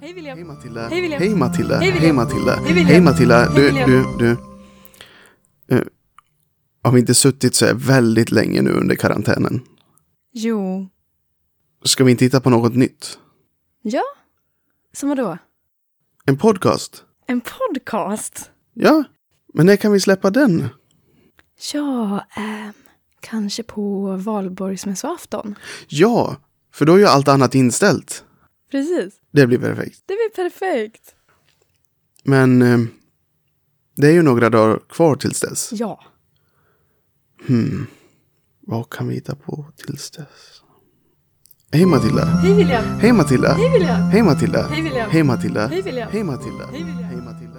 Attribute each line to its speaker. Speaker 1: Hej William!
Speaker 2: Hej Matilda!
Speaker 1: Hej, William.
Speaker 2: Hej Matilda!
Speaker 1: Hej, William.
Speaker 2: Hej Matilda!
Speaker 1: Hej, William.
Speaker 2: Hej Matilda!
Speaker 1: Hej,
Speaker 2: Du,
Speaker 1: William.
Speaker 2: du, du. Eh, Har vi inte suttit så här väldigt länge nu under karantänen?
Speaker 1: Jo.
Speaker 2: Ska vi inte hitta på något nytt?
Speaker 1: Ja? Som vadå?
Speaker 2: En podcast?
Speaker 1: En podcast?
Speaker 2: Ja, men när kan vi släppa den?
Speaker 1: Ja, ehm, kanske på valborgsmässoafton.
Speaker 2: Ja, för då är ju allt annat inställt.
Speaker 1: Precis.
Speaker 2: Det blir perfekt.
Speaker 1: Det blir perfekt.
Speaker 2: Men eh, det är ju några dagar kvar tills dess.
Speaker 1: Ja.
Speaker 2: Hmm. Vad kan vi hitta på tills dess? Hej Matilda!
Speaker 1: Hej William!
Speaker 2: Hej Matilda!
Speaker 1: Hej William!
Speaker 2: Hej Matilda!
Speaker 1: Hej William!
Speaker 2: Hej Matilda!
Speaker 1: Hej William!
Speaker 2: Hej Matilda!
Speaker 1: Hej William!
Speaker 2: Hej Matilda!